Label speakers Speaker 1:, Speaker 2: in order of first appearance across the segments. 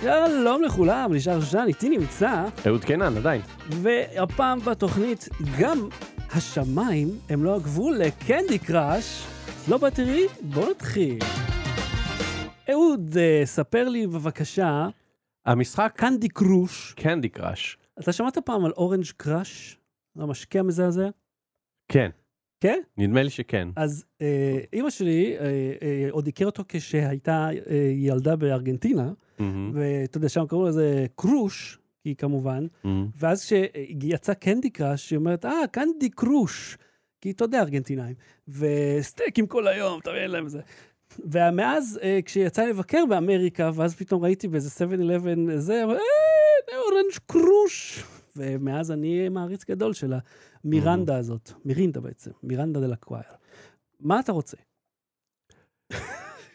Speaker 1: שלום לכולם, נשאר ז'אן, איתי נמצא,
Speaker 2: אהוד קנן, עדיין.
Speaker 1: והפעם בתוכנית גם השמיים הם לא הגבול לקנדי קראש. לא בטרי, בואו נתחיל. אהוד, אה, ספר לי בבקשה,
Speaker 2: המשחק
Speaker 1: קנדי קרוש,
Speaker 2: קנדי קראש.
Speaker 1: אתה שמעת פעם על אורנג' קראש? המשקה המזעזע?
Speaker 2: כן.
Speaker 1: כן?
Speaker 2: נדמה לי שכן.
Speaker 1: אז אה, אימא שלי אה, אה, עוד הכיר אותו כשהייתה אה, ילדה בארגנטינה,
Speaker 2: מהמם,
Speaker 1: ואתה יודע, שם קראו לזה קרוש, כי כמובן,
Speaker 2: מהמם.
Speaker 1: ואז כשיצא קנדי קראש, היא אומרת, אה, קנדי קרוש. כי אתה יודע, ארגנטינאים. וסטייקים כל היום, אתה מבין להם זה. ומאז, אה, כשיצא לבקר באמריקה, ואז פתאום ראיתי באיזה 7-11 זה, אבל, אה, אורנג' קרוש. ומאז אני מעריץ גדול של המירנדה הזאת. מירינדה בעצם, מירנדה דה לקווייר. מה אתה רוצה?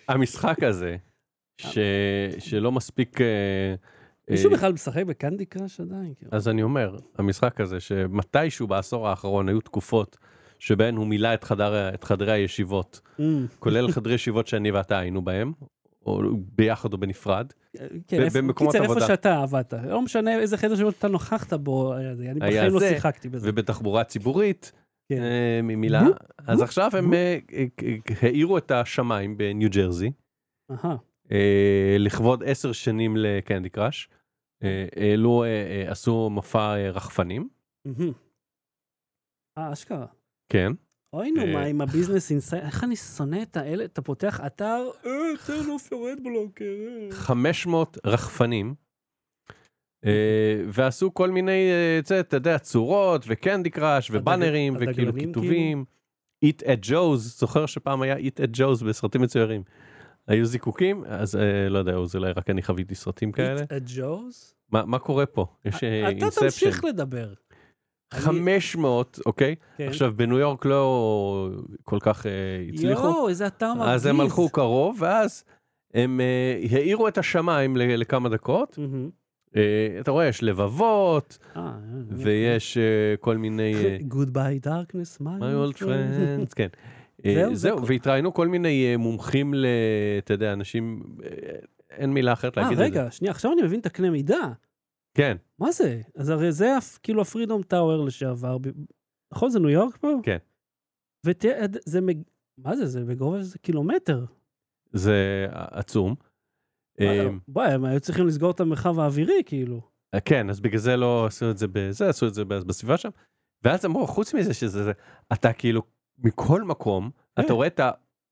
Speaker 2: המשחק הזה, ש- שלא מספיק... אה,
Speaker 1: מישהו
Speaker 2: אה,
Speaker 1: בכלל משחק בקנדי קראש עדיין? כאילו?
Speaker 2: אז אני אומר, המשחק הזה, שמתישהו בעשור האחרון היו תקופות שבהן הוא מילא את, חדר, את חדרי הישיבות,
Speaker 1: אמ,
Speaker 2: כולל חדרי ישיבות שאני ואתה היינו בהם, או ביחד או בנפרד.
Speaker 1: כן,
Speaker 2: ב-
Speaker 1: איפה-
Speaker 2: במקומות
Speaker 1: קיצר, איפה
Speaker 2: עבודה.
Speaker 1: שאתה עבדת. לא משנה איזה חדר שבו אתה נוכחת בו, היה זה, אני
Speaker 2: היה
Speaker 1: בחיים לא
Speaker 2: זה,
Speaker 1: שיחקתי בזה.
Speaker 2: ובתחבורה ציבורית,
Speaker 1: כן.
Speaker 2: אה, ממילה.
Speaker 1: בופ,
Speaker 2: אז
Speaker 1: בופ,
Speaker 2: עכשיו הם
Speaker 1: בופ.
Speaker 2: אה, אה, אה, האירו את השמיים בניו ג'רזי,
Speaker 1: אהה,
Speaker 2: אה, לכבוד עשר שנים לקנדי קראש. אה, העלו, אה, אה, עשו מופע אה, רחפנים,
Speaker 1: מהמם. אה, אשכרה.
Speaker 2: כן.
Speaker 1: אוי נו,
Speaker 2: אה,
Speaker 1: מה עם הביזנס אינסייד, איך אני שונא את האלה, אתה פותח אתר, אה, turn off your red blocker. אה.
Speaker 2: 500 רחפנים, אה, ועשו כל מיני, אה, זה, אתה יודע, צורות, וקנדי קראש, ובאנרים,
Speaker 1: הדגלנים,
Speaker 2: וכאילו
Speaker 1: כאילו?
Speaker 2: כיתובים. eat at Joe's, זוכר שפעם היה eat at Joe's בסרטים מצוירים. היו זיקוקים, אז אה, לא יודע, עוז, אולי רק אני חוויתי סרטים כאלה.
Speaker 1: Eat at Joe's?
Speaker 2: מה מה קורה פה? יש אה,
Speaker 1: אתה
Speaker 2: אינספשן.
Speaker 1: תמשיך לדבר.
Speaker 2: 500, אוניי?
Speaker 1: כן.
Speaker 2: עכשיו בניו יורק לא כל כך אה, הצליחו, אה,
Speaker 1: יואו, איזה אתר לא, מרגיז.
Speaker 2: אז הם הלכו קרוב, ואז הם אה, האירו את השמיים ל- לכמה דקות.
Speaker 1: מהמם.
Speaker 2: אה, אתה רואה, יש לבבות,
Speaker 1: אה, אה,
Speaker 2: ויש אה, כל מיני... אה,
Speaker 1: Good by darkness, my
Speaker 2: my old friends, כן.
Speaker 1: כן,
Speaker 2: אה,
Speaker 1: זהו, זה
Speaker 2: זהו,
Speaker 1: כל-
Speaker 2: והתראיינו כל מיני אה, מומחים ל... אתה יודע, אנשים... אה, אין מילה אחרת
Speaker 1: אה,
Speaker 2: להגיד את זה.
Speaker 1: רגע, שנייה, עכשיו אני מבין את הקנה מידה.
Speaker 2: כן,
Speaker 1: מה זה? אז הרי זה הפ- כאילו הפרידום טאוור לשעבר, ב- נכון? זה ניו יורק פה?
Speaker 2: כן.
Speaker 1: ותראה, זה מג... מה זה? זה בגובה של קילומטר.
Speaker 2: זה עצום. אה,
Speaker 1: בואי, הם היו צריכים לסגור את המרחב האווירי, כאילו.
Speaker 2: אה, כן, אז בגלל זה לא עשו את זה בזה, עשו את זה באז- בסביבה שם. ואז אמרו, חוץ מזה שזה, זה- אתה כאילו, מכל מקום,
Speaker 1: כן.
Speaker 2: אתה רואה את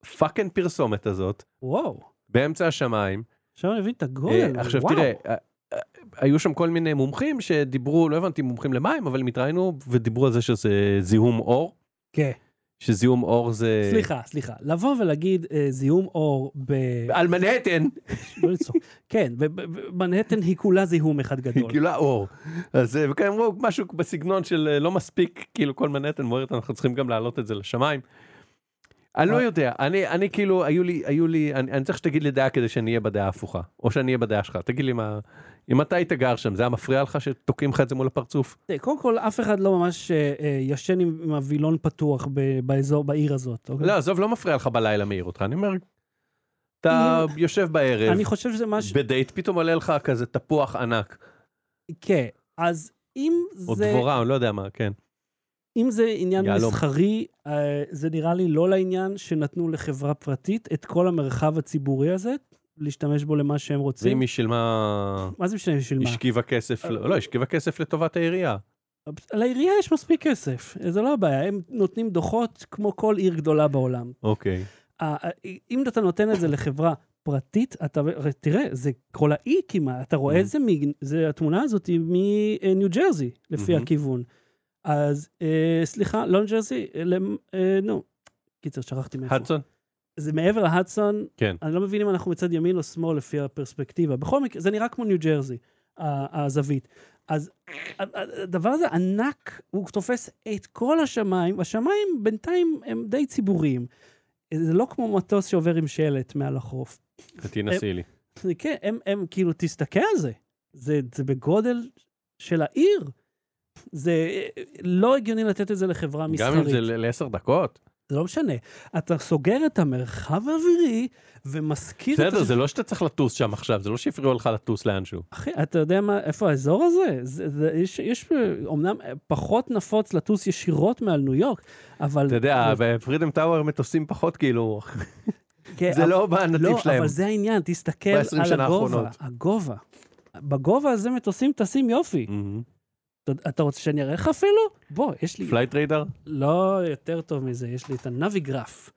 Speaker 2: הפאקינג פרסומת הזאת,
Speaker 1: וואו. באמצע
Speaker 2: באמצע השמיים.
Speaker 1: עכשיו אני מבין את
Speaker 2: אה,
Speaker 1: הגודל.
Speaker 2: עכשיו
Speaker 1: וואו.
Speaker 2: תראה, אה, אה, היו שם כל מיני מומחים שדיברו, לא הבנתי מומחים למים, אבל הם התראיינו ודיברו על זה שזה זיהום אור,
Speaker 1: כן.
Speaker 2: שזיהום אור זה...
Speaker 1: סליחה, סליחה. לבוא ולהגיד אה, זיהום אור ב...
Speaker 2: על מנהטן,
Speaker 1: לא לצעוק. כן, ב- ב- ב- מנהטן היא כולה זיהום אחד גדול.
Speaker 2: כאילו האור. אז אה, וכן אמרו משהו בסגנון של אה, לא מספיק, כאילו כל מנהטן מוערת, אנחנו צריכים גם להעלות את זה לשמיים. אני לא
Speaker 1: אה.
Speaker 2: יודע, אני, אני כאילו, היו לי, היו לי, אני, אני צריך שתגיד לי דעה כדי שאני אהיה בדעה ההפוכה, או שאני אהיה בדעה שלך, תגיד לי מה, אם אתה היית גר שם, זה היה מפריע לך שתוקעים לך את זה מול הפרצוף?
Speaker 1: תראה, אה, קודם כל, אף אחד לא ממש אה, אה, ישן עם עם הווילון פתוח ב- באזור, בעיר הזאת. אוקיי?
Speaker 2: לא, עזוב, לא מפריע לך בלילה מעיר אותך, אני אומר, אתה יושב בערב,
Speaker 1: אני חושב שזה משהו...
Speaker 2: בדייט, פתאום עולה לך כזה תפוח ענק,
Speaker 1: כן, אז אם
Speaker 2: או
Speaker 1: זה,
Speaker 2: דבורה, אני לא יודע מה, כן.
Speaker 1: אם זה עניין
Speaker 2: יהלום.
Speaker 1: מסחרי, אה, זה נראה לי לא לעניין שנתנו לחברה פרטית את כל המרחב הציבורי הזה, להשתמש בו למה שהם
Speaker 2: ואם
Speaker 1: רוצים.
Speaker 2: היא שילמה...
Speaker 1: מה זה משנה בשביל מה?
Speaker 2: השכיבה כסף, לא, לא, השכיבה כסף לטובת העירייה.
Speaker 1: לעירייה יש מספיק כסף, זה לא הבעיה, הם נותנים דוחות כמו כל עיר גדולה בעולם.
Speaker 2: אוקיי.
Speaker 1: אה, אה, אם אתה נותן את זה לחברה פרטית, אתה הרי תראה, זה כל האי כמעט, אתה רואה
Speaker 2: Mhm.
Speaker 1: את זה, מ- זה התמונה הזאת היא מניו ג'רזי, לפי
Speaker 2: Mhm.
Speaker 1: הכיוון. אז אה, סליחה, לא ניו ג'רזי, אה, למ- אה, נו, קיצר, שכחתי מאיפה.
Speaker 2: הדסון?
Speaker 1: זה מעבר להדסון,
Speaker 2: כן.
Speaker 1: אני לא מבין אם אנחנו מצד ימין או שמאל לפי הפרספקטיבה. בכל מקרה, זה נראה כמו ניו ג'רזי, ה- הזווית. אז ה- ה- הדבר הזה ענק, הוא תופס את כל השמיים, השמיים בינתיים הם די ציבוריים. זה לא כמו מטוס שעובר עם שלט מעל החוף.
Speaker 2: תנסי לי.
Speaker 1: כן, הם, הם כאילו, תסתכל על זה. זה, זה בגודל של העיר. זה אה, לא הגיוני לתת את זה לחברה
Speaker 2: גם
Speaker 1: מסחרית.
Speaker 2: אם זה ל- לעשר דקות?
Speaker 1: זה לא משנה. אתה סוגר את המרחב האווירי ומזכיר את...
Speaker 2: בסדר, זה לא שאתה צריך לטוס שם עכשיו, זה לא שהפריעו לך לטוס לאנשהו.
Speaker 1: אחי, אתה יודע מה, איפה האזור הזה? זה, זה, יש, יש אומנם פחות נפוץ לטוס ישירות מעל ניו יורק, אבל...
Speaker 2: אתה יודע, בפרידם טאוור מטוסים פחות כאילו,
Speaker 1: כן,
Speaker 2: זה
Speaker 1: אבל-
Speaker 2: לא בנתיב
Speaker 1: לא,
Speaker 2: שלהם.
Speaker 1: אבל זה העניין, תסתכל
Speaker 2: ב-עשרים
Speaker 1: על
Speaker 2: שנה
Speaker 1: הגובה.
Speaker 2: האחרונות.
Speaker 1: הגובה. בגובה הזה מטוסים טסים יופי.
Speaker 2: מהמם.
Speaker 1: אתה- אתה רוצה שאני אראה לך אפילו? בוא, יש לי...
Speaker 2: פלייט ריידר?
Speaker 1: לא יותר טוב מזה, יש לי את הנביגרף.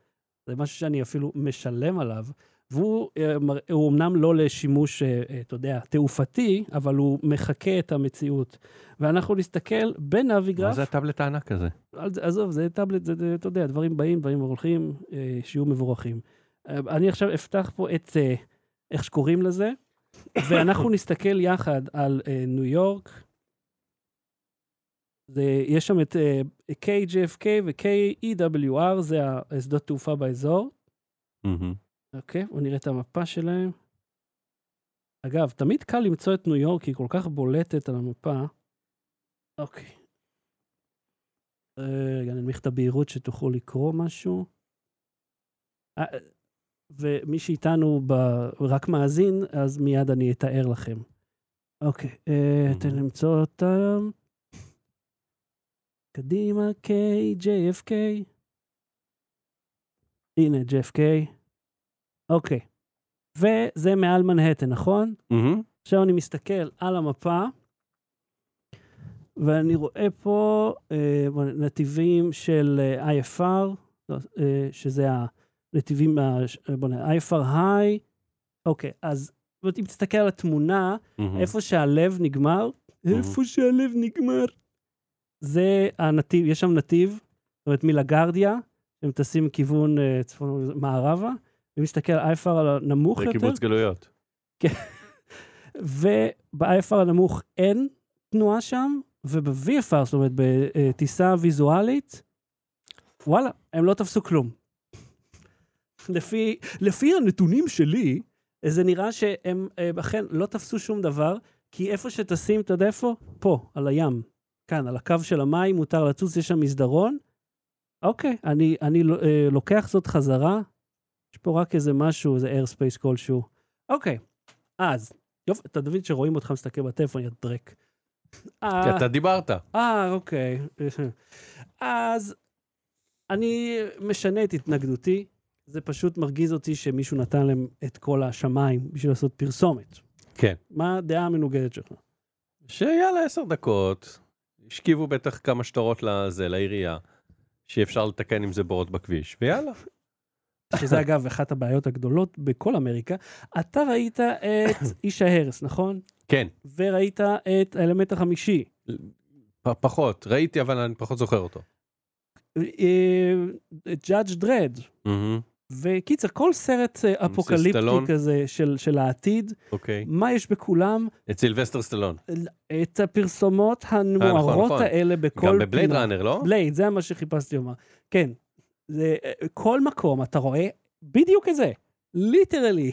Speaker 1: זה משהו שאני אפילו משלם עליו, והוא אה, מר- הוא אמנם לא לשימוש, אה, אה, אתה יודע, תעופתי, אבל הוא מחקה את המציאות. ואנחנו נסתכל
Speaker 2: מה
Speaker 1: בנביגרף,
Speaker 2: זה הטאבלט הענק הזה?
Speaker 1: על זה- עזוב, זה טאבלט, זה, זה, אתה יודע, דברים באים, דברים הולכים, אה, שיהיו מבורכים. אה, אני עכשיו אפתח פה את, אה, איך שקוראים לזה, ואנחנו נסתכל יחד על אה, ניו יורק. זה, יש שם את אה, KJFK ו-KEWR, E זה השדות תעופה באזור.
Speaker 2: מהמם.
Speaker 1: אוקיי, בוא נראה את המפה שלהם. אגב, תמיד קל למצוא את ניו יורק, כי היא כל כך בולטת על המפה. אוקיי. אה, רגע, ננמיך את הבהירות שתוכלו לקרוא משהו. אה, אה, ומי שאיתנו ב... רק מאזין, אז מיד אני אתאר לכם. אוקיי, אה, תן לי למצוא אותם. קדימה, K, JFK. הנה, JFK. אוקיי. וזה מעל מנהטן, נכון?
Speaker 2: מהמם.
Speaker 1: עכשיו אני מסתכל על המפה, ואני רואה פה אה, בוא, נתיבים של אה, IFR, לא, אה, שזה הנתיבים, ה- אה, בוא נראה, IFR high. אוקיי, אז זאת אומרת, אם תסתכל על התמונה,
Speaker 2: מהמם.
Speaker 1: איפה שהלב נגמר,
Speaker 2: Mm.
Speaker 1: איפה שהלב נגמר, זה הנתיב, יש שם נתיב, זאת אומרת מלגרדיה, הם טסים מכיוון אה, צפון מערבה, ומסתכל על IFR על הנמוך
Speaker 2: זה
Speaker 1: יותר,
Speaker 2: קיבוץ גלויות.
Speaker 1: וב-IFR הנמוך אין תנועה שם, וב-VFR, זאת אומרת בטיסה ויזואלית, וואלה, הם לא תפסו כלום. לפי, לפי הנתונים שלי, זה נראה שהם אה, אכן לא תפסו שום דבר, כי איפה שטסים, אתה יודע איפה? פה, על הים. כאן, על הקו של המים, מותר לטוס, יש שם מסדרון. אוקיי, אני, אני ל- אה, לוקח זאת חזרה. יש פה רק איזה משהו, איזה איירספייס כלשהו. אוקיי, אז, יופי, אתה מבין שרואים אותך מסתכל בטלפון, יא דרק. אה,
Speaker 2: כי אתה דיברת.
Speaker 1: אה, אוקיי. אז אני משנה את התנגדותי. זה פשוט מרגיז אותי שמישהו נתן להם את כל השמיים בשביל לעשות פרסומת.
Speaker 2: כן.
Speaker 1: מה הדעה המנוגדת שלך?
Speaker 2: שיאללה עשר דקות, השכיבו בטח כמה שטרות לזה, לעירייה, שאפשר לתקן עם זה בורות בכביש, ויאללה.
Speaker 1: שזה אגב אחת הבעיות הגדולות בכל אמריקה. אתה ראית את איש ההרס, נכון?
Speaker 2: כן,
Speaker 1: וראית את האלמנט החמישי.
Speaker 2: פ- פחות, ראיתי אבל אני פחות זוכר אותו.
Speaker 1: ג'אדג' אה, דרד.
Speaker 2: מהמם,
Speaker 1: וקיצר, כל סרט אה, אפוקליפטי
Speaker 2: סטלון.
Speaker 1: כזה של, של העתיד,
Speaker 2: אוקיי,
Speaker 1: מה יש בכולם?
Speaker 2: את סילבסטר סטלון,
Speaker 1: את הפרסומות
Speaker 2: אה, נכון,
Speaker 1: הנוערות
Speaker 2: נכון.
Speaker 1: האלה בכל
Speaker 2: גם בבלייד ראנר, לא?
Speaker 1: בלייד, זה מה שחיפשתי לומר. כן. זה, כל מקום אתה רואה בדיוק את זה, ליטרלי,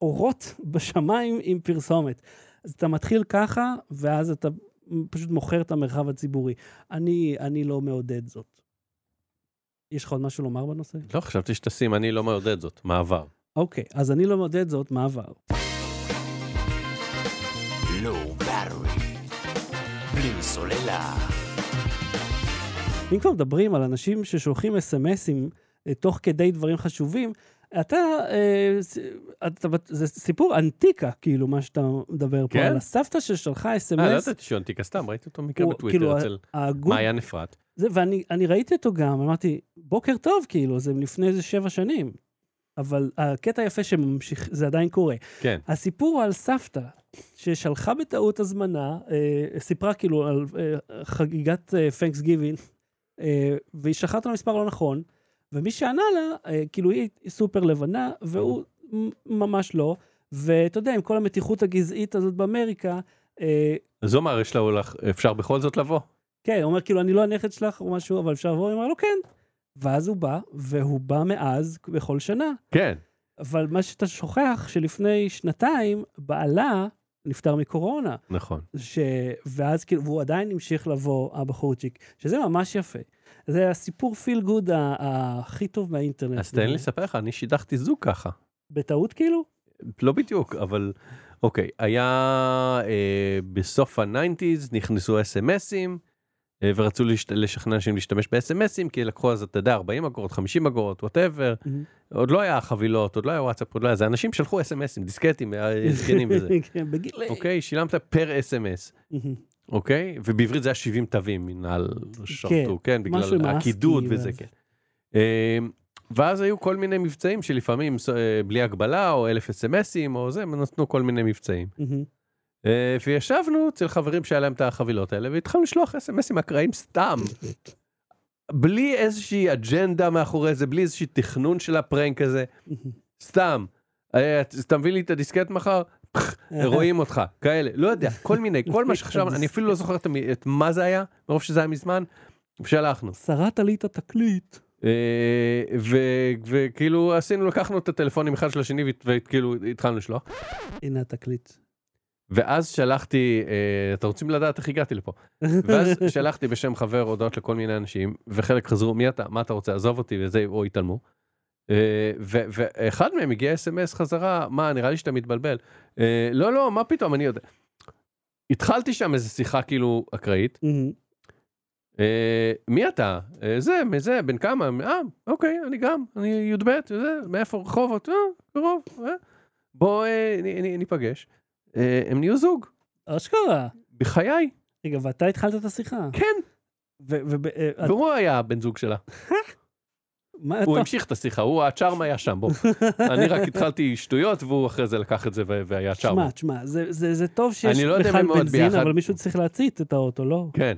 Speaker 1: אורות בשמיים עם פרסומת. אז אתה מתחיל ככה, ואז אתה פשוט מוכר את המרחב הציבורי. אני, אני לא מעודד זאת. יש לך עוד משהו לומר בנושא?
Speaker 2: לא, חשבתי שתשים, אני לא מעודד זאת, מעבר.
Speaker 1: אוקיי, אז אני לא מעודד זאת, מה עבר?
Speaker 3: Low battery. לא בלי סוללה.
Speaker 1: אם כבר מדברים על אנשים ששולחים אס.אם.אסים אה, תוך כדי דברים חשובים, אתה, אה, ס- אתה, בת- זה סיפור אנטיקה, כאילו, מה שאתה מדבר פה,
Speaker 2: כן?
Speaker 1: על הסבתא ששלחה
Speaker 2: אה, לא
Speaker 1: אס.אם.אס,
Speaker 2: ידעתי שהוא אנטיקה סתם, ראיתי אותו מקרה
Speaker 1: הוא- כאילו,
Speaker 2: בטוויטר אצל
Speaker 1: הגוד,
Speaker 2: מעיין אפרת.
Speaker 1: זה, ואני אני ראיתי אותו גם, אמרתי, בוקר טוב, כאילו, זה לפני איזה שבע שנים. אבל הקטע היפה שממשיך, זה עדיין קורה.
Speaker 2: כן.
Speaker 1: הסיפור הוא על סבתא, ששלחה בטעות הזמנה, אה, סיפרה כאילו על אה, חגיגת פנקס גיבין, אה, והיא שלחה אותה למספר לא נכון, ומי שענה לה, אה, כאילו היא סופר לבנה, והוא מ- ממש לא, ואתה יודע, עם כל המתיחות הגזעית הזאת באמריקה, אה,
Speaker 2: אז הוא אמר, יש לה הולך, אפשר בכל זאת לבוא?
Speaker 1: כן, הוא אומר כאילו, אני לא הנכד שלך או משהו, אבל אפשר לבוא? הוא אמר לו, כן. ואז הוא בא, והוא בא מאז בכל שנה.
Speaker 2: כן.
Speaker 1: אבל מה שאתה שוכח, שלפני שנתיים, בעלה נפטר מקורונה.
Speaker 2: נכון.
Speaker 1: ש... ואז כאילו, והוא עדיין המשיך לבוא, הבחורצ'יק, שזה ממש יפה. זה הסיפור פיל גוד ה- ה- הכי טוב מהאינטרנט.
Speaker 2: אז תן לי
Speaker 1: זה-
Speaker 2: לספר לך, אני שידכתי זוג ככה.
Speaker 1: בטעות כאילו?
Speaker 2: לא בדיוק, אבל אוקיי, היה אה, בסוף הניינטיז, נכנסו אס.אם.אסים, אה, ורצו לשת, לשכנע אנשים להשתמש באס.אם.אסים, כי לקחו אז, אתה יודע, 40 אגורות, 50 אגורות, וואטאבר, עוד לא היה חבילות, עוד לא היה וואטסאפ, עוד לא היה, זה אנשים שלחו אס.אם.אסים, דיסקטים, אה, זקנים וזה.
Speaker 1: כן, בגיל...
Speaker 2: אוקיי, שילמת פר אס.אם.אס,
Speaker 1: מהמם.
Speaker 2: אוקיי? ובעברית זה היה 70 תווים, מנהל שרתו, כן,
Speaker 1: משהו עם
Speaker 2: בגלל הקידוד
Speaker 1: האסקי
Speaker 2: וזה,
Speaker 1: ואז-
Speaker 2: כן. אה, ואז היו כל מיני מבצעים שלפעמים אה, בלי הגבלה, או אלף אס.אם.אסים, או זה, הם נתנו כל מיני מבצעים.
Speaker 1: מהמם.
Speaker 2: אה, וישבנו אצל חברים שהיה להם את החבילות האלה, והתחלנו לשלוח אס.אם.אסים אקראיים סתם. בלי איזושהי אג'נדה מאחורי זה, בלי איזשהו תכנון של הפרנק הזה, סתם. אה, את- אז תביא לי את הדיסקט מחר, רואים אותך, כאלה, לא יודע, כל מיני, כל מה שחשב, אני אפילו לא זוכר את המי- את מה זה היה, מרוב שזה היה מזמן, ושלחנו.
Speaker 1: שרת עלית תקליט.
Speaker 2: אה, ו- וכאילו עשינו, לקחנו את הטלפונים אחד של השני והת- וכאילו התחלנו לשלוח.
Speaker 1: הנה התקליט.
Speaker 2: ואז שלחתי, אה, אתם רוצים לדעת איך הגעתי לפה, ואז שלחתי בשם חבר הודעות לכל מיני אנשים, וחלק חזרו, מי אתה, מה אתה רוצה, עזוב אותי וזה, או התעלמו. אה, ו- ואחד מהם הגיע אס.אם.אס חזרה, מה, נראה לי שאתה מתבלבל. אה, לא, לא, מה פתאום, אני יודע. התחלתי שם איזו שיחה כאילו אקראית,
Speaker 1: מהמם.
Speaker 2: אה, מי אתה? אה, זה, מזה, בן כמה? אה, אוקיי, אני גם, אני י"ב, זה, מאיפה, רחובות, אה, קרוב, אה. בוא אה, נ- נ- ניפגש. אה, הם נהיו זוג,
Speaker 1: אשכרה.
Speaker 2: בחיי,
Speaker 1: רגע, ואתה התחלת את השיחה.
Speaker 2: כן.
Speaker 1: ו- ו- אה, את-
Speaker 2: והוא היה הבן זוג שלה.
Speaker 1: מה
Speaker 2: הוא
Speaker 1: אתה...
Speaker 2: המשיך את השיחה, הוא הצ'ארם היה שם, בוא. אני רק התחלתי שטויות, והוא אחרי זה לקח את זה ו- והיה צ'ארם.
Speaker 1: תשמע, תשמע, זה- זה זה טוב שיש
Speaker 2: אני לא יודע אם
Speaker 1: בכלל
Speaker 2: הם מאוד
Speaker 1: בנזין,
Speaker 2: ביחד.
Speaker 1: אבל מישהו צריך להצית את האוטו, לא?
Speaker 2: כן,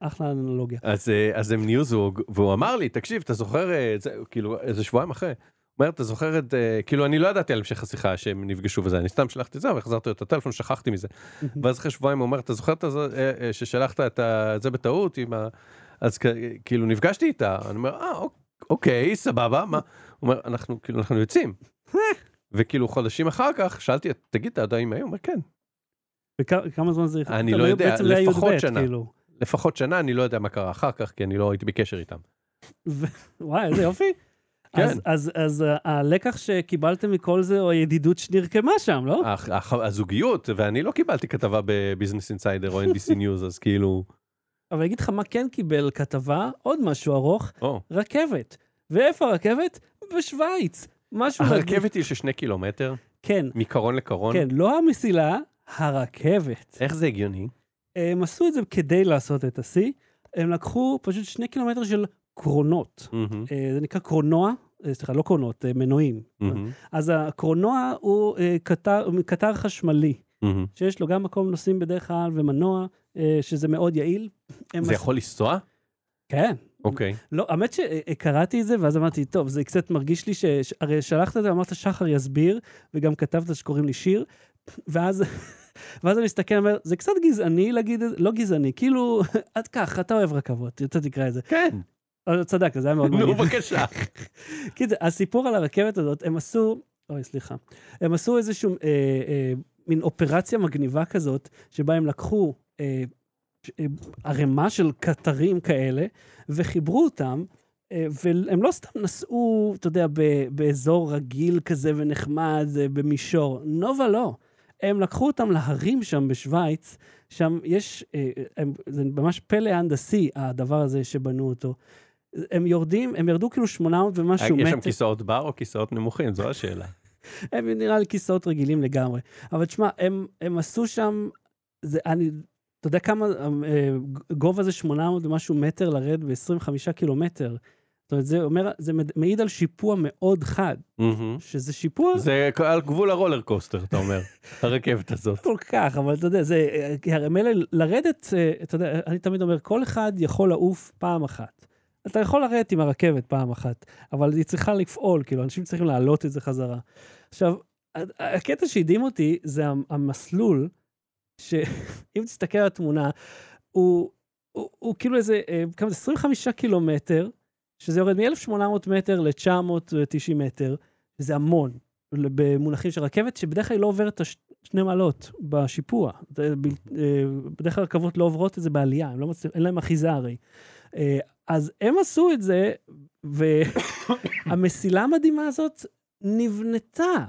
Speaker 1: אחלה אנלוגיה.
Speaker 2: אז, אה, אז הם נהיו זוג, והוא אמר לי, תקשיב, אתה זוכר, אה, זה, כאילו, איזה שבועיים אחרי, הוא אומר, אתה זוכר את, אה, כאילו, אני לא ידעתי על המשך השיחה שהם נפגשו וזה, אני סתם שלחתי את זה, והחזרתי לו את הטלפון, שכחתי מזה. ואז אחרי שבועיים הוא אומר, אתה זוכר את הזו- אה, אה, ששלחת את ה- זה בטעות עם ה... אז כ- כאילו, נפגשתי איתה, אני אומר, אה, אוק- אוקיי, סבבה, מה? הוא אומר, אנחנו, כאילו, אנחנו יוצאים. וכאילו חודשים אחר כך שאלתי, תגיד, אתה עדיין היום? הוא אומר, כן.
Speaker 1: וכמה זמן זה...
Speaker 2: אני
Speaker 1: אתה
Speaker 2: לא יודע,
Speaker 1: בעצם זה היה
Speaker 2: לפחות
Speaker 1: י"ב,
Speaker 2: שנה.
Speaker 1: כאילו.
Speaker 2: לפחות שנה, אני לא יודע מה קרה אחר כך, כי אני לא הייתי בקשר איתם.
Speaker 1: ו- וואי, איזה יופי.
Speaker 2: כן.
Speaker 1: אז, אז, אז ה- הלקח שקיבלתם מכל זה, או הידידות שנרקמה שם, לא?
Speaker 2: הח- הח- הזוגיות, ואני לא קיבלתי כתבה בביזנס אינסיידר או NBC News, אז כאילו,
Speaker 1: אבל אני אגיד לך מה כן קיבל כתבה, עוד משהו ארוך,
Speaker 2: או.
Speaker 1: רכבת. ואיפה הרכבת? בשוויץ. משהו... מדהים.
Speaker 2: "אה, הרכבת נכון. היא של שני קילומטר,
Speaker 1: כן,
Speaker 2: מקרון לקרון,
Speaker 1: כן, לא המסילה, הרכבת.
Speaker 2: איך זה הגיוני?
Speaker 1: הם עשו את זה כדי לעשות את השיא. הם לקחו פשוט שני קילומטר של קרונות.
Speaker 2: מהמם,
Speaker 1: אה, זה נקרא קרונוע, אה, סליחה, לא קרונות, אה, מנועים.
Speaker 2: מהמם,
Speaker 1: אז הקרונוע הוא אה, קטר, קטר חשמלי.
Speaker 2: מהמם.
Speaker 1: שיש לו גם מקום נוסעים בדרך כלל ומנוע, אה, שזה מאוד יעיל. הם
Speaker 2: זה
Speaker 1: עש-
Speaker 2: יכול לנסוע?
Speaker 1: כן.
Speaker 2: אוקיי.
Speaker 1: לא, האמת שקראתי את זה, ואז אמרתי, טוב, זה קצת מרגיש לי ש... ש- הרי שלחת את זה, אמרת שחר יסביר, וגם כתבת שקוראים לי שיר, ואז... ואז אני מסתכל, אומר, זה קצת גזעני להגיד את זה, לא גזעני, כאילו, עד כך, אתה אוהב רכבות, אתה תקרא את זה.
Speaker 2: כן.
Speaker 1: אבל צדק, זה היה מאוד מעניין.
Speaker 2: נו, בבקשה.
Speaker 1: קיצר, הסיפור על הרכבת הזאת, הם עשו, אוי, סליחה, הם עשו איזשהו אה, אה, מין אופרציה מגניבה כזאת, שבה הם לקחו אה, ש- אה, ערימה של קטרים כאלה, וחיברו אותם. אה, והם לא סתם נסעו, אתה יודע, ב- באזור רגיל כזה ונחמד, אה, במישור. נובה לא. הם לקחו אותם להרים שם בשוויץ, שם יש, אה, הם, זה ממש פלא הנדסי, הדבר הזה שבנו אותו. הם יורדים, הם ירדו כאילו 800 ומשהו
Speaker 2: אה, יש
Speaker 1: מטר.
Speaker 2: שם כיסאות בר או כיסאות נמוכים? זו השאלה.
Speaker 1: הם נראה לי כיסאות רגילים לגמרי. אבל תשמע, הם, הם עשו שם, זה, אני, אתה יודע כמה, אה, גובה זה 800 ומשהו מטר לרד ב-25 קילומטר. זאת אומרת, זה אומר, זה מד- מעיד על שיפוע מאוד חד,
Speaker 2: מהמם.
Speaker 1: שזה שיפוע זה...
Speaker 2: אה? זה על גבול הרולר קוסטר, אתה אומר, הרכבת הזאת.
Speaker 1: כל כך, אבל אתה יודע, זה, אה, כי הרי מילא לרדת, אה, אתה יודע, אני תמיד אומר, כל אחד יכול לעוף פעם אחת. אתה יכול לרדת עם הרכבת פעם אחת, אבל היא צריכה לפעול, כאילו, אנשים צריכים להעלות את זה חזרה. עכשיו, ה- הקטע שהדהים אותי זה המ- המסלול, שאם תסתכל על התמונה, הוא, הוא, הוא כאילו איזה, אה, כמה זה, 25 קילומטר, שזה יורד מ-1,800 מטר ל-990 מטר, שזה המון, ל- במונחים של רכבת, שבדרך כלל היא לא עוברת את הש- שני מעלות בשיפוע. זה ב- אה, בדרך כלל רכבות לא עוברות את זה בעלייה, הם לא מצליח, אין להם אחיזה הרי. אה, אז הם עשו את זה, והמסילה המדהימה הזאת נבנתה,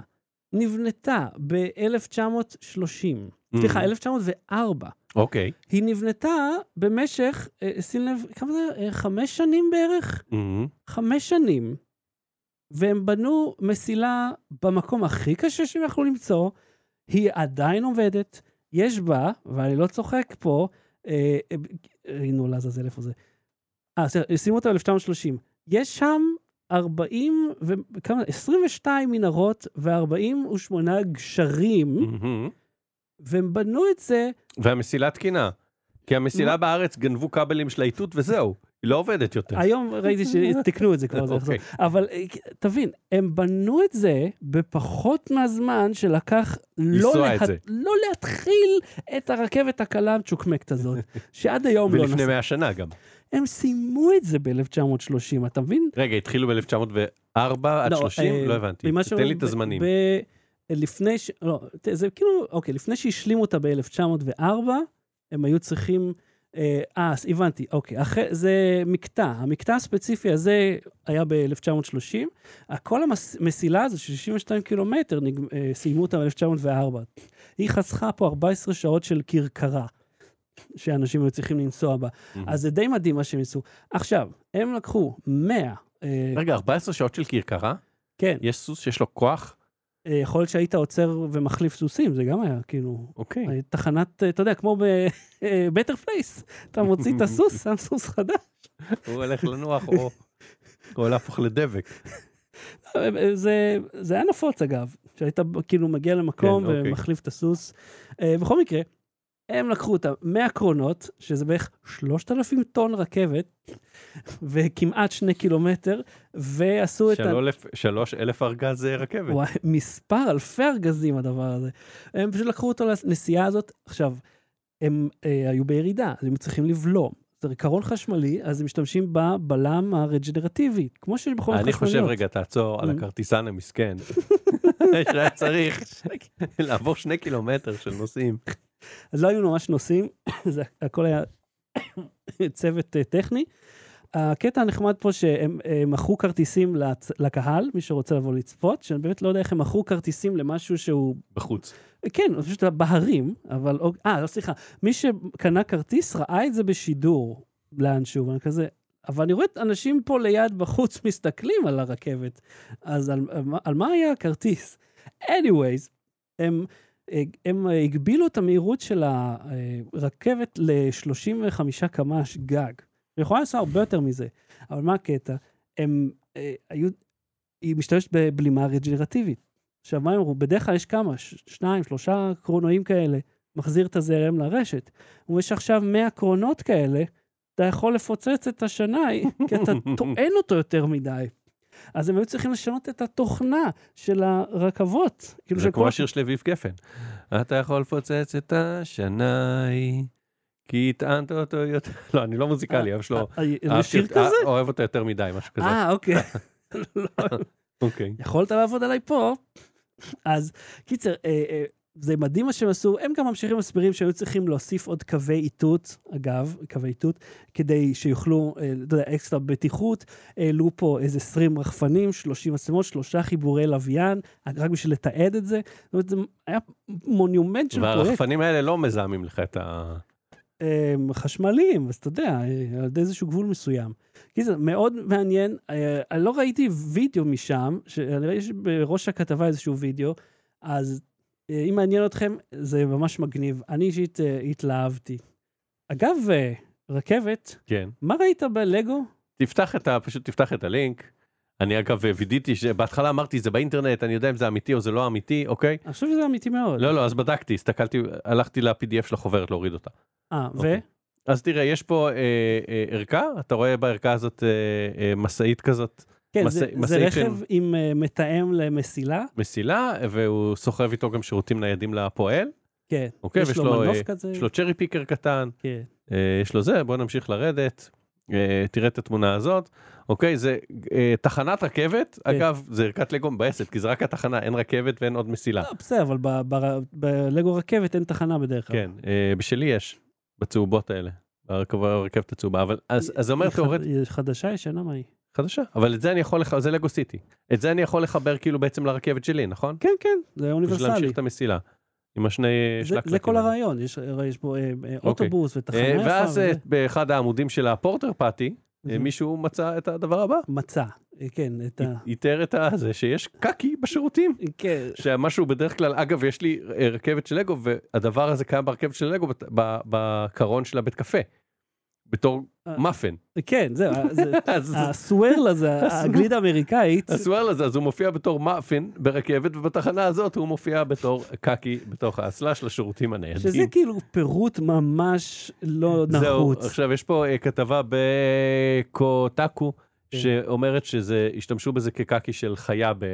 Speaker 1: נבנתה ב-1930.
Speaker 2: Mm.
Speaker 1: סליחה, 1904.
Speaker 2: אוקיי.
Speaker 1: היא נבנתה במשך, אה, שים לב, כמה זה, היה? אה, חמש שנים בערך?
Speaker 2: מהמם.
Speaker 1: חמש שנים, והם בנו מסילה במקום הכי קשה שהם יכלו למצוא, היא עדיין עובדת, יש בה, ואני לא צוחק פה, אה, אה, אה, נו לעזאזל איפה זה. אה, סליחה, שימו אותה ב-1930. יש שם 40 וכמה, 22 מנהרות ו-48 גשרים,
Speaker 2: מהמם.
Speaker 1: והם בנו את זה,
Speaker 2: והמסילה תקינה. כי המסילה בארץ גנבו כבלים של האיתות וזהו, היא לא עובדת יותר.
Speaker 1: היום ראיתי שתיקנו את זה כבר, זה יחזור.
Speaker 2: אוקיי.
Speaker 1: אבל אה, תבין, הם בנו את זה בפחות מהזמן שלקח לא,
Speaker 2: לנסוע את
Speaker 1: לה...
Speaker 2: זה.
Speaker 1: לא להתחיל את הרכבת הקלה המצ'וקמקת הזאת, שעד היום לא
Speaker 2: ולפני
Speaker 1: נסעה.
Speaker 2: 100 שנה גם.
Speaker 1: הם סיימו את זה ב-1930, אתה מבין?
Speaker 2: רגע, התחילו ב-1904 עד
Speaker 1: לא,
Speaker 2: 30?
Speaker 1: אה,
Speaker 2: לא הבנתי.
Speaker 1: ממה
Speaker 2: תן לי את
Speaker 1: ב-
Speaker 2: הזמנים.
Speaker 1: ב- לפני ש... לא, ת- זה כאילו, אוקיי, לפני שהשלימו אותה ב-1904, הם היו צריכים... אה, אה, אז הבנתי, אוקיי. אחרי, זה מקטע. המקטע הספציפי הזה היה ב-1930. כל המסילה הזו של 62 קילומטר, נג... אה, סיימו אותה ב-1904. היא חסכה פה 14 שעות של כרכרה, שאנשים היו צריכים לנסוע בה.
Speaker 2: מהמם.
Speaker 1: אז זה די מדהים מה שהם ניסו. עכשיו, הם לקחו 100... אה,
Speaker 2: רגע, 14 שעות של כרכרה?
Speaker 1: כן.
Speaker 2: יש סוס שיש לו כוח?
Speaker 1: אה, יכול להיות שהיית עוצר ומחליף סוסים, זה גם היה, כאילו,
Speaker 2: אוקיי.
Speaker 1: אה, תחנת, אה, אתה יודע, כמו ב-Better Place, אתה מוציא את הסוס, שם סוס חדש.
Speaker 2: הוא הולך לנוח או... או להפוך לדבק.
Speaker 1: אה, אה, זה, זה היה נפוץ, אגב, שהיית ב- כאילו מגיע למקום
Speaker 2: כן, אוקיי.
Speaker 1: ומחליף את הסוס. אה, בכל מקרה, הם לקחו אותם 100 קרונות, שזה בערך 3,000 טון רכבת, וכמעט 2 קילומטר, ועשו את... ה-
Speaker 2: שלוש- שלוש אלף ארגז אה, רכבת.
Speaker 1: וואי, מספר אלפי ארגזים הדבר הזה. הם פשוט לקחו אותו לנסיעה הזאת. עכשיו, הם אה, היו בירידה, אז הם צריכים לבלום. זה עיקרון חשמלי, אז הם משתמשים בבלם הרג'נרטיבי, כמו שיש בחומר
Speaker 2: אני
Speaker 1: חשמליות.
Speaker 2: חושב, רגע, תעצור על
Speaker 1: Mm.
Speaker 2: הכרטיסן המסכן. שהיה צריך לעבור שני קילומטר של נוסעים.
Speaker 1: אז לא היו ממש נוסעים, זה הכל היה צוות אה, טכני. הקטע הנחמד פה שהם אה, מכרו כרטיסים לצ- לקהל, מי שרוצה לבוא לצפות, שאני באמת לא יודע איך הם מכרו כרטיסים למשהו שהוא
Speaker 2: בחוץ.
Speaker 1: כן, זה פשוט בהרים, אבל... אה, לא, סליחה. מי שקנה כרטיס ראה את זה בשידור לאנשהו, ואני כזה... אבל אני רואה את אנשים פה ליד בחוץ מסתכלים על הרכבת, אז על, על, מה- על מה היה הכרטיס? anyways, הם, הם הגבילו את המהירות של הרכבת ל-35 קמ"ש גג. היא יכולה לעשות הרבה יותר מזה, אבל מה הקטע? הם אה, היו... היא משתמשת בבלימה רג'נרטיבית. עכשיו, מה הם אמרו? בדרך כלל יש כמה, ש- שניים, שלושה קרונועים כאלה, מחזיר את הזרם לרשת. הוא יש עכשיו 100 קרונות כאלה, אתה יכול לפוצץ את השנאי, כי אתה טוען אותו יותר מדי. אז הם היו צריכים לשנות את התוכנה של הרכבות. כאילו
Speaker 2: זה
Speaker 1: שכל
Speaker 2: כמו השיר של אביב גפן. אתה יכול לפוצץ את השנאי, כי הטענת אותו יותר... לא, אני לא מוזיקלי, אבל שלא...
Speaker 1: אה, אה, יש שיר כזה?
Speaker 2: אוהב אותו יותר מדי, משהו כזה.
Speaker 1: אה, אוקיי.
Speaker 2: אוקיי.
Speaker 1: יכולת לעבוד עליי פה. אז קיצר, אה, אה, זה מדהים מה שהם עשו. הם גם ממשיכים מסבירים שהיו צריכים להוסיף עוד קווי איתות, אגב, קווי איתות, כדי שיוכלו, אה, אתה יודע, אקסטרה בטיחות. העלו פה איזה 20 רחפנים, 30 מצלמות, שלושה חיבורי לוויין, רק בשביל לתעד את זה. זאת אומרת, זה היה מונומנט של פרויקט.
Speaker 2: והרחפנים האלה לא מזהמים לך את ה...
Speaker 1: הם אמ, חשמליים, אז אתה יודע, אה, עד איזשהו גבול מסוים. קיצר, מאוד מעניין, אה, אני לא ראיתי וידאו משם, ש- אני ראיתי בראש הכתבה איזשהו וידאו, אז אה, אם מעניין אתכם, זה ממש מגניב. אני אישית אה, התלהבתי. אגב, אה, רכבת,
Speaker 2: כן.
Speaker 1: מה ראית בלגו?
Speaker 2: תפתח את ה... פשוט תפתח את הלינק. אני אגב וידאתי, שבהתחלה אמרתי זה באינטרנט, אני יודע אם זה אמיתי או זה לא אמיתי, אוקיי?
Speaker 1: אני חושב שזה אמיתי מאוד.
Speaker 2: לא, לא, אז בדקתי, הסתכלתי, הלכתי ל-PDF של החוברת להוריד אותה.
Speaker 1: אה, ו?
Speaker 2: אוקיי. אז תראה, יש פה אה, אה, ערכה, אתה רואה בערכה הזאת אה, אה, משאית כזאת,
Speaker 1: כן, זה-
Speaker 2: משאי-
Speaker 1: זה
Speaker 2: משאית של-
Speaker 1: רכב עם אה, מתאם למסילה.
Speaker 2: מסילה, והוא סוחב איתו גם שירותים ניידים לפועל,
Speaker 1: כן.
Speaker 2: אוקיי,
Speaker 1: יש
Speaker 2: ויש
Speaker 1: לו
Speaker 2: לו,
Speaker 1: מנוף
Speaker 2: אה,
Speaker 1: כזה.
Speaker 2: יש לו צ'רי פיקר קטן,
Speaker 1: כן.
Speaker 2: אה, יש לו זה, בוא נמשיך לרדת, אה, תראה את התמונה הזאת. אוקיי, זה אה, תחנת רכבת,
Speaker 1: כן.
Speaker 2: אגב, זה ערכת לגו מבאסת, כי זה רק התחנה, אין רכבת ואין עוד מסילה.
Speaker 1: לא, בסדר, אבל ב- ב- בלגו רכבת אין תחנה בדרך כלל.
Speaker 2: כן, אה, בשלי יש, בצהובות האלה. הרכבת הצהובה, אבל אז אז זה אומר תיאורטית
Speaker 1: היא חד- היא חדשה, ישנה, מה היא?
Speaker 2: חדשה, אבל את זה אני יכול לחבר, זה לגו סיטי. את זה אני יכול לחבר כאילו בעצם לרכבת שלי, נכון?
Speaker 1: כן, כן, זה
Speaker 2: בשביל
Speaker 1: אוניברסלי.
Speaker 2: להמשיך את המסילה. עם השני
Speaker 1: זה-
Speaker 2: שלקלקים.
Speaker 1: זה כל
Speaker 2: האלה.
Speaker 1: הרעיון, יש- הרי יש פה אה, אה, אוטובוס ותחנה
Speaker 2: אה,
Speaker 1: יפה.
Speaker 2: ואז
Speaker 1: וזה.
Speaker 2: אה, באחד העמודים של הפורטר פאטי, אה,
Speaker 1: Mhm.
Speaker 2: מישהו מצא את הדבר הבא.
Speaker 1: מצא, אה, כן, את ה...
Speaker 2: איתר את הזה שיש קקי בשירותים.
Speaker 1: כן,
Speaker 2: שמשהו בדרך כלל, אגב, יש לי אה, רכבת של לגו, והדבר הזה קיים ברכבת של לגו בת- ב- בקרון של הבית קפה. בתור
Speaker 1: אה.
Speaker 2: מאפן.
Speaker 1: כן, זהו, ה- זה-
Speaker 2: אז
Speaker 1: הסוורל הזה,
Speaker 2: הסוורל.
Speaker 1: הגלידה האמריקאית,
Speaker 2: הסוואל הזה, אז הוא מופיע בתור מאפין ברכבת, ובתחנה הזאת הוא מופיע בתור קקי בתוך האסלה של השירותים הניידים.
Speaker 1: שזה כאילו פירוט ממש לא
Speaker 2: זהו,
Speaker 1: נחוץ.
Speaker 2: עכשיו יש פה אה, כתבה בקוטקו,
Speaker 1: כן.
Speaker 2: שאומרת שזה, השתמשו בזה כקקי של חיה ב-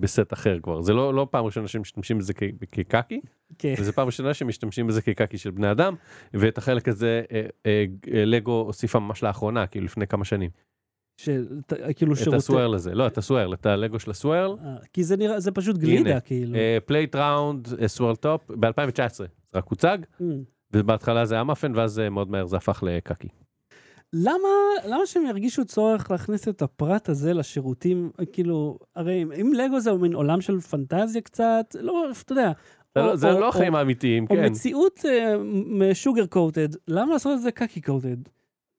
Speaker 2: בסט אחר כבר. זה לא, לא פעם ראשונה שמשתמשים בזה כ- כקקי,
Speaker 1: כן.
Speaker 2: וזו פעם ראשונה שמשתמשים בזה כקקי של בני אדם, ואת החלק הזה אה, אה, אה, לגו הוסיפה ממש לאחרונה, כאילו לפני כמה שנים.
Speaker 1: של- ת- כאילו
Speaker 2: את
Speaker 1: שירותי...
Speaker 2: הסווארל הזה, לא, את הסווארל, את הלגו של הסווארל.
Speaker 1: אה, כי זה נראה, זה פשוט גלידה,
Speaker 2: הנה, אה,
Speaker 1: כאילו.
Speaker 2: פלייט ראונד סווארל טופ ב-2019, רק הוצג,
Speaker 1: Mm.
Speaker 2: ובהתחלה זה היה מאפן, ואז אה, מאוד מהר זה הפך לקקי.
Speaker 1: למה, למה שהם ירגישו צורך להכניס את הפרט הזה לשירותים? כאילו, הרי אם- אם לגו זה מין עולם של פנטזיה קצת, לא, אתה יודע.
Speaker 2: זה
Speaker 1: או-
Speaker 2: לא- זה
Speaker 1: או-
Speaker 2: לא
Speaker 1: או-
Speaker 2: החיים האמיתיים,
Speaker 1: או
Speaker 2: כן.
Speaker 1: מציאות אה, שוגר קוטד, למה לעשות את זה קקי קוטד?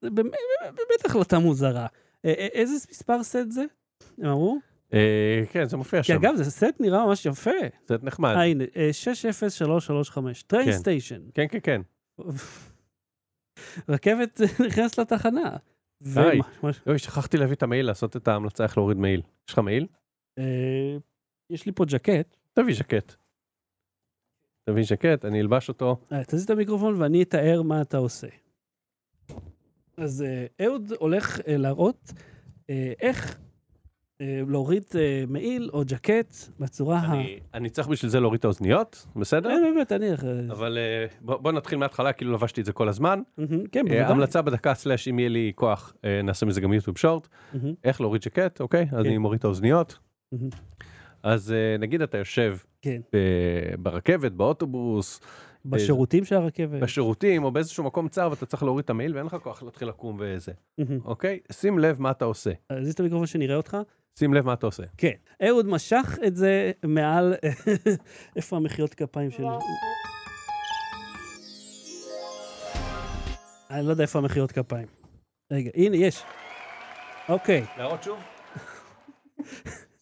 Speaker 1: זה באמת- באמת החלטה מוזרה. אה, אה, איזה מספר סט זה? הם אמרו?
Speaker 2: אה, כן, זה מופיע
Speaker 1: כי
Speaker 2: שם,
Speaker 1: אגב, זה סט נראה ממש יפה.
Speaker 2: זה נחמד.
Speaker 1: אה, הנה, אה, 60335, טריין
Speaker 2: כן.
Speaker 1: סטיישן.
Speaker 2: כן, כן, כן.
Speaker 1: רכבת נכנסת לתחנה. ו-
Speaker 2: היי.
Speaker 1: מה-
Speaker 2: אוי, שכחתי להביא את המעיל, לעשות את ההמלצה איך להוריד מעיל. יש לך מעיל?
Speaker 1: אה, יש לי פה ג'קט.
Speaker 2: תביא ז'קט. תביא ז'קט, אני אלבש אותו.
Speaker 1: אה, תזיז את המיקרופון ואני אתאר מה אתה עושה. אז אה, אהוד הולך אה, להראות אה, איך אה, להוריד אה, מעיל או ג'קט בצורה ה...
Speaker 2: אני- אני צריך בשביל זה להוריד את האוזניות, בסדר?
Speaker 1: אה, באמת, אני... איך, אה,
Speaker 2: אבל אה, בוא בוא נתחיל מההתחלה, כאילו לבשתי את זה כל הזמן.
Speaker 1: מהמם, כן,
Speaker 2: אה,
Speaker 1: בוודאי.
Speaker 2: המלצה בדקה סלאש, אם יהיה לי כוח, אה, נעשה מזה גם יוטיוב שורט.
Speaker 1: מהמם,
Speaker 2: איך להוריד ז'קט, אוקיי? אז אני מוריד את האוזניות.
Speaker 1: כן. מהמם.
Speaker 2: אז אה, נגיד אתה יושב
Speaker 1: כן.
Speaker 2: ב- ברכבת, באוטובוס,
Speaker 1: בשירותים של הרכבת.
Speaker 2: בשירותים או באיזשהו מקום צר ואתה צריך להוריד את המעיל ואין לך כוח להתחיל לקום וזה,
Speaker 1: מהמם. אה,
Speaker 2: אוקיי? שים לב מה אתה עושה.
Speaker 1: תזיז את המיקרופון שנראה אותך.
Speaker 2: שים לב מה אתה עושה.
Speaker 1: כן. אהוד משך את זה מעל... איפה המחיאות כפיים של... אני לא יודע איפה המחיאות כפיים. רגע, הנה, יש. אוקיי,
Speaker 2: להראות שוב?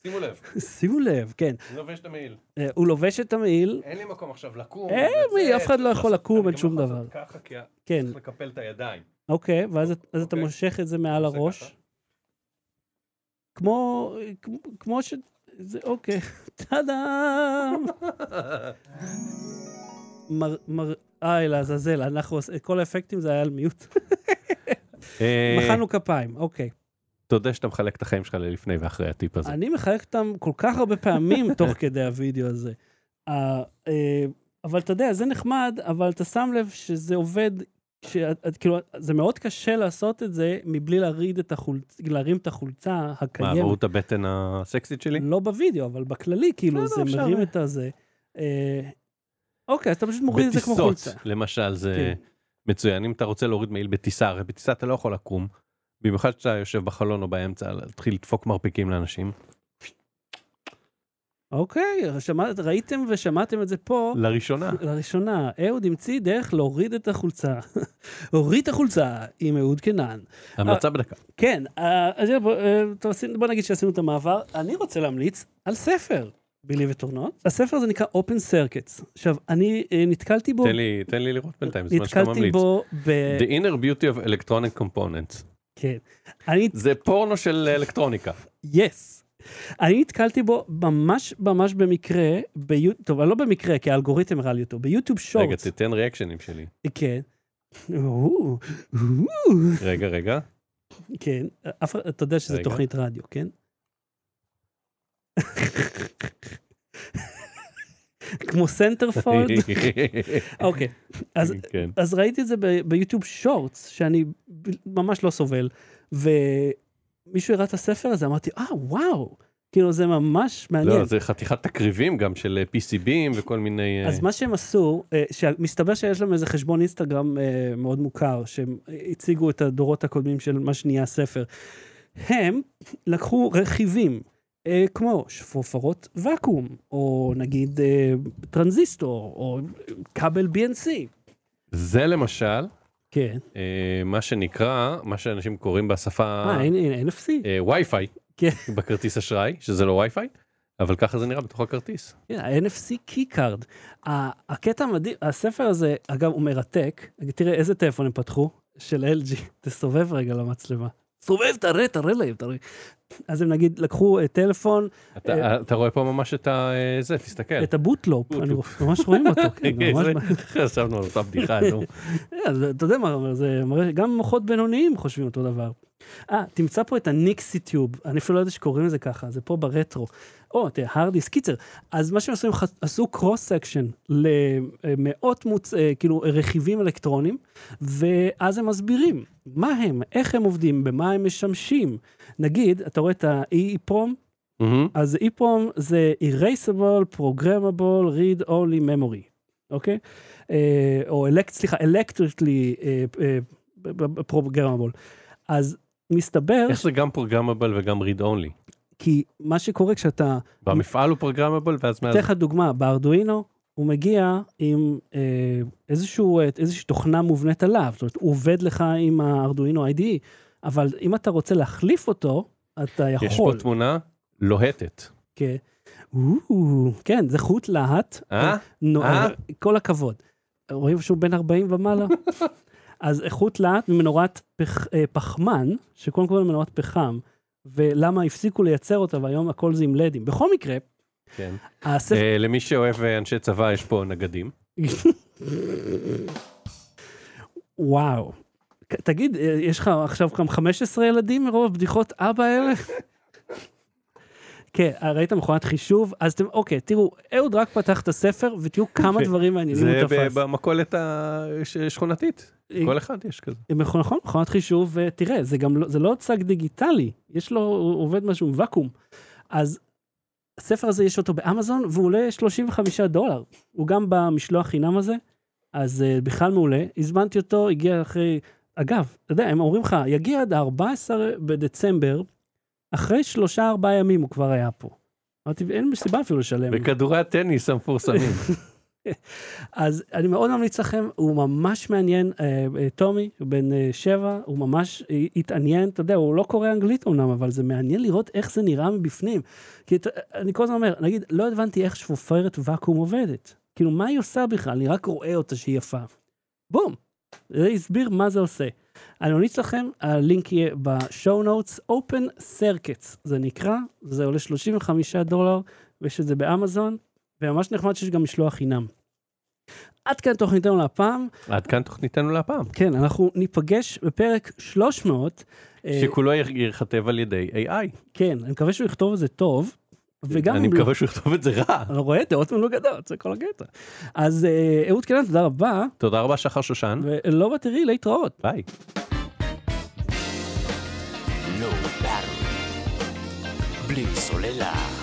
Speaker 2: שימו לב,
Speaker 1: שימו לב, כן.
Speaker 2: אני לא לובש את המעיל.
Speaker 1: אה, הוא לובש את המעיל,
Speaker 2: אין לי מקום עכשיו לקום.
Speaker 1: אין לי,
Speaker 2: לצאת,
Speaker 1: אה, אף אחד לא יכול
Speaker 2: לעשות-
Speaker 1: לקום,
Speaker 2: אני
Speaker 1: אין
Speaker 2: גם
Speaker 1: שום
Speaker 2: לא יכול
Speaker 1: דבר.
Speaker 2: לעשות ככה, כי
Speaker 1: כן,
Speaker 2: צריך לקפל את הידיים.
Speaker 1: אוקיי, ואז את- אז אתה
Speaker 2: אוקיי.
Speaker 1: מושך את זה מעל
Speaker 2: עושה
Speaker 1: הראש.
Speaker 2: ככה.
Speaker 1: כמו, כמו- כמו ש... זה אוקיי, טאדאם! מר... מר... איי, לעזאזל, אנחנו... עוש- כל האפקטים זה היה על מיוט.
Speaker 2: אה,
Speaker 1: מחאנו כפיים, אוקיי.
Speaker 2: תודה שאתה מחלק את החיים שלך ללפני ואחרי הטיפ הזה.
Speaker 1: אני מחלק אותם כל כך הרבה פעמים תוך כדי הוידאו הזה. אה, אה, אבל אתה יודע, זה נחמד, אבל אתה שם לב שזה עובד, שאת- את- כאילו, זה מאוד קשה לעשות את זה מבלי להריד את החולצ... להרים את החולצה
Speaker 2: מה, ראו
Speaker 1: הקיימת.
Speaker 2: את הבטן הסקסית שלי?
Speaker 1: לא בווידאו, אבל בכללי,
Speaker 2: לא,
Speaker 1: כאילו,
Speaker 2: לא,
Speaker 1: זה
Speaker 2: אפשר.
Speaker 1: מרים את הזה. אה, אוקיי, אז אתה פשוט מוריד את זה כמו חולצה.
Speaker 2: בטיסות, אה. למשל, זה
Speaker 1: כן.
Speaker 2: מצוין. אם אתה רוצה להוריד מעיל בטיסה, הרי בטיסה אתה לא יכול לקום. במיוחד כשאתה יושב בחלון או באמצע, להתחיל לדפוק מרפיקים לאנשים.
Speaker 1: אוקיי, שמע- ראיתם ושמעתם את זה פה.
Speaker 2: לראשונה.
Speaker 1: אה, לראשונה, אהוד המציא דרך להוריד את החולצה. הוריד את החולצה עם אהוד קנן.
Speaker 2: המלצה בדקה.
Speaker 1: כן, אה, אז יאללה, בוא, אה, טוב, עשינו- בוא נגיד שעשינו את המעבר. אני רוצה להמליץ על ספר, בילי וטורנות. הספר הזה נקרא Open Circuits. עכשיו, אני אה, נתקלתי בו,
Speaker 2: תן לי, תן לי לראות בינתיים, זמן שאתה
Speaker 1: נתקלתי
Speaker 2: ממליץ.
Speaker 1: בו אה, ב...
Speaker 2: The inner beauty of electronic components.
Speaker 1: כן. אני,
Speaker 2: זה פורנו של אלקטרוניקה.
Speaker 1: יס. אני נתקלתי בו ממש ממש במקרה, ביו... טוב, לא במקרה, כי האלגוריתם הראה לי אותו, ביוטיוב
Speaker 2: רגע,
Speaker 1: שורטס.
Speaker 2: תיתן ריאקשנים שלי.
Speaker 1: כן. או, או.
Speaker 2: רגע, רגע.
Speaker 1: כן, אף, אתה יודע שזו
Speaker 2: רגע.
Speaker 1: תוכנית רדיו, כן? כמו סנטרפולד. אוקיי, אז,
Speaker 2: כן.
Speaker 1: אז ראיתי את זה ב- ביוטיוב שורטס, שאני ב- ממש לא סובל, ומישהו הראה את הספר הזה, אמרתי, אה, וואו, כאילו זה ממש מעניין.
Speaker 2: לא, זה חתיכת תקריבים גם של אה, PCBים וכל מיני... אה,
Speaker 1: אז מה שהם עשו, אה, שמסתבר שיש להם איזה חשבון אינסטגרם אה, מאוד מוכר, שהם הציגו את הדורות הקודמים של מה שנהיה הספר. הם לקחו רכיבים, אה, כמו שפופרות ואקום, או נגיד אה, טרנזיסטור, או כבל BNC.
Speaker 2: זה למשל,
Speaker 1: כן.
Speaker 2: אה, מה שנקרא, מה שאנשים קוראים בשפה
Speaker 1: אה, הנה, הנה, NFC.
Speaker 2: אה, Wi-Fi,
Speaker 1: כן.
Speaker 2: בכרטיס אשראי, שזה לא Wi-Fi, אבל ככה זה נראה בתוך הכרטיס.
Speaker 1: כן, ה-NFC קיקארד. ה- הקטע המדהים, הספר הזה, אגב, הוא מרתק. תראה איזה טלפון הם פתחו, של LG. תסובב רגע למצלמה. סובב, תראה, תראה להם, תראה. אז הם נגיד לקחו אה, טלפון,
Speaker 2: אתה אתה רואה פה ממש את ה... אה, זה, תסתכל.
Speaker 1: אה, את הבוטלופ, אני
Speaker 2: בוטלופ.
Speaker 1: ממש רואים אותו, כן, ממש...
Speaker 2: זה- חשבנו על אותה בדיחה, נו.
Speaker 1: אה, זה- אתה יודע מה אומר, זה מראה, גם מוחות בינוניים חושבים אותו דבר. אה, תמצא פה את הניקסי טיוב, אני אפילו לא יודע שקוראים לזה ככה, זה פה ברטרו. או, תראה, הרדיס, קיצר. אז מה שהם עשו, הם ח- עשו קרוס סקשן למאות מוצ... אה, כאילו, רכיבים אלקטרונים, ואז הם מסבירים מה הם, איך הם עובדים, במה הם משמשים. נגיד, אתה רואה את E ה-EEPROM,
Speaker 2: מהמם.
Speaker 1: אז EPROM זה Erasable, Programmable, Read Only Memory, אוקיי? אה, או אלקט, סליחה, Electrically אה, אה, ב- ב- Programmable. אז מסתבר
Speaker 2: איך זה גם פרוגרמבל וגם read only?
Speaker 1: כי מה שקורה כשאתה,
Speaker 2: והמפעל הוא פרוגרמבל, ואז מאז...
Speaker 1: אתן לך דוגמה, בארדואינו, הוא מגיע עם אה, איזשהו, אה, איזושהי תוכנה מובנית עליו, זאת אומרת, הוא עובד לך עם הארדואינו IDE, אבל אם אתה רוצה להחליף אותו, אתה יכול.
Speaker 2: יש פה תמונה לוהטת.
Speaker 1: כן. אוו, כן, זה חוט להט.
Speaker 2: אה?
Speaker 1: נוער,
Speaker 2: אה?
Speaker 1: כל הכבוד. רואים שהוא בן 40 ומעלה? אז איכות להט ממנורת פח, אה, פחמן, שקודם כל מנורת פחם, ולמה הפסיקו לייצר אותה והיום הכל זה עם לדים. בכל מקרה,
Speaker 2: כן.
Speaker 1: הספר...
Speaker 2: אה, למי שאוהב אה, אנשי צבא, יש פה נגדים.
Speaker 1: וואו. כ- תגיד, אה, יש לך עכשיו גם 15 ילדים מרוב הבדיחות אבא האלה? כן, אה, ראית מכונת חישוב? אז אתם, אוקיי, תראו, אהוד רק פתח את הספר, ותראו כמה
Speaker 2: כן.
Speaker 1: דברים מעניינים
Speaker 2: זה
Speaker 1: הוא תפס. אה,
Speaker 2: ב- במכולת השכונתית. כל אחד יש כזה.
Speaker 1: נכון, נכון, מכונת חישוב, ותראה, זה גם לא, זה לא צג דיגיטלי, יש לו, הוא עובד משהו עם ואקום. אז הספר הזה, יש אותו באמזון, והוא עולה 35 דולר. הוא גם במשלוח חינם הזה, אז uh, בכלל מעולה. הזמנתי אותו, הגיע אחרי... אגב, אתה יודע, הם אומרים לך, יגיע עד ה-14 בדצמבר, אחרי שלושה, ארבעה ימים הוא כבר היה פה. אמרתי, אין סיבה אפילו לשלם.
Speaker 2: בכדורי הטניס המפורסמים.
Speaker 1: אז אני מאוד ממליץ לכם, הוא ממש מעניין, אה, אה, טומי, הוא בן אה, שבע, הוא ממש אה, התעניין, אתה יודע, הוא לא קורא אנגלית אמנם, אבל זה מעניין לראות איך זה נראה מבפנים. כי אתה- אני כל הזמן אומר, נגיד, לא הבנתי איך שפופרת ואקום עובדת. כאילו, מה היא עושה בכלל? אני רק רואה אותה שהיא יפה. בום! זה הסביר מה זה עושה. אני ממליץ לכם, הלינק יהיה בשואו נוטס, Open Circuits, זה נקרא, זה עולה 35 דולר, ויש את זה באמזון, וממש נחמד שיש גם משלוח חינם. עד כאן תוכניתנו להפעם.
Speaker 2: עד כאן תוכניתנו להפעם.
Speaker 1: כן, אנחנו ניפגש בפרק 300. אה,
Speaker 2: שכולו ייכ- ייכתב על ידי AI.
Speaker 1: כן, אני מקווה שהוא יכתוב את זה טוב. וגם
Speaker 2: אני
Speaker 1: אם לא,
Speaker 2: מקווה שהוא יכתוב את זה רע.
Speaker 1: אני רואה דעות מנוגדות, זה כל הקטע. אז אה, אהוד קנן, תודה רבה,
Speaker 2: תודה רבה, שחר שושן.
Speaker 1: ולא בתראי, להתראות.
Speaker 2: ביי.
Speaker 3: Low battery. בלי סוללה.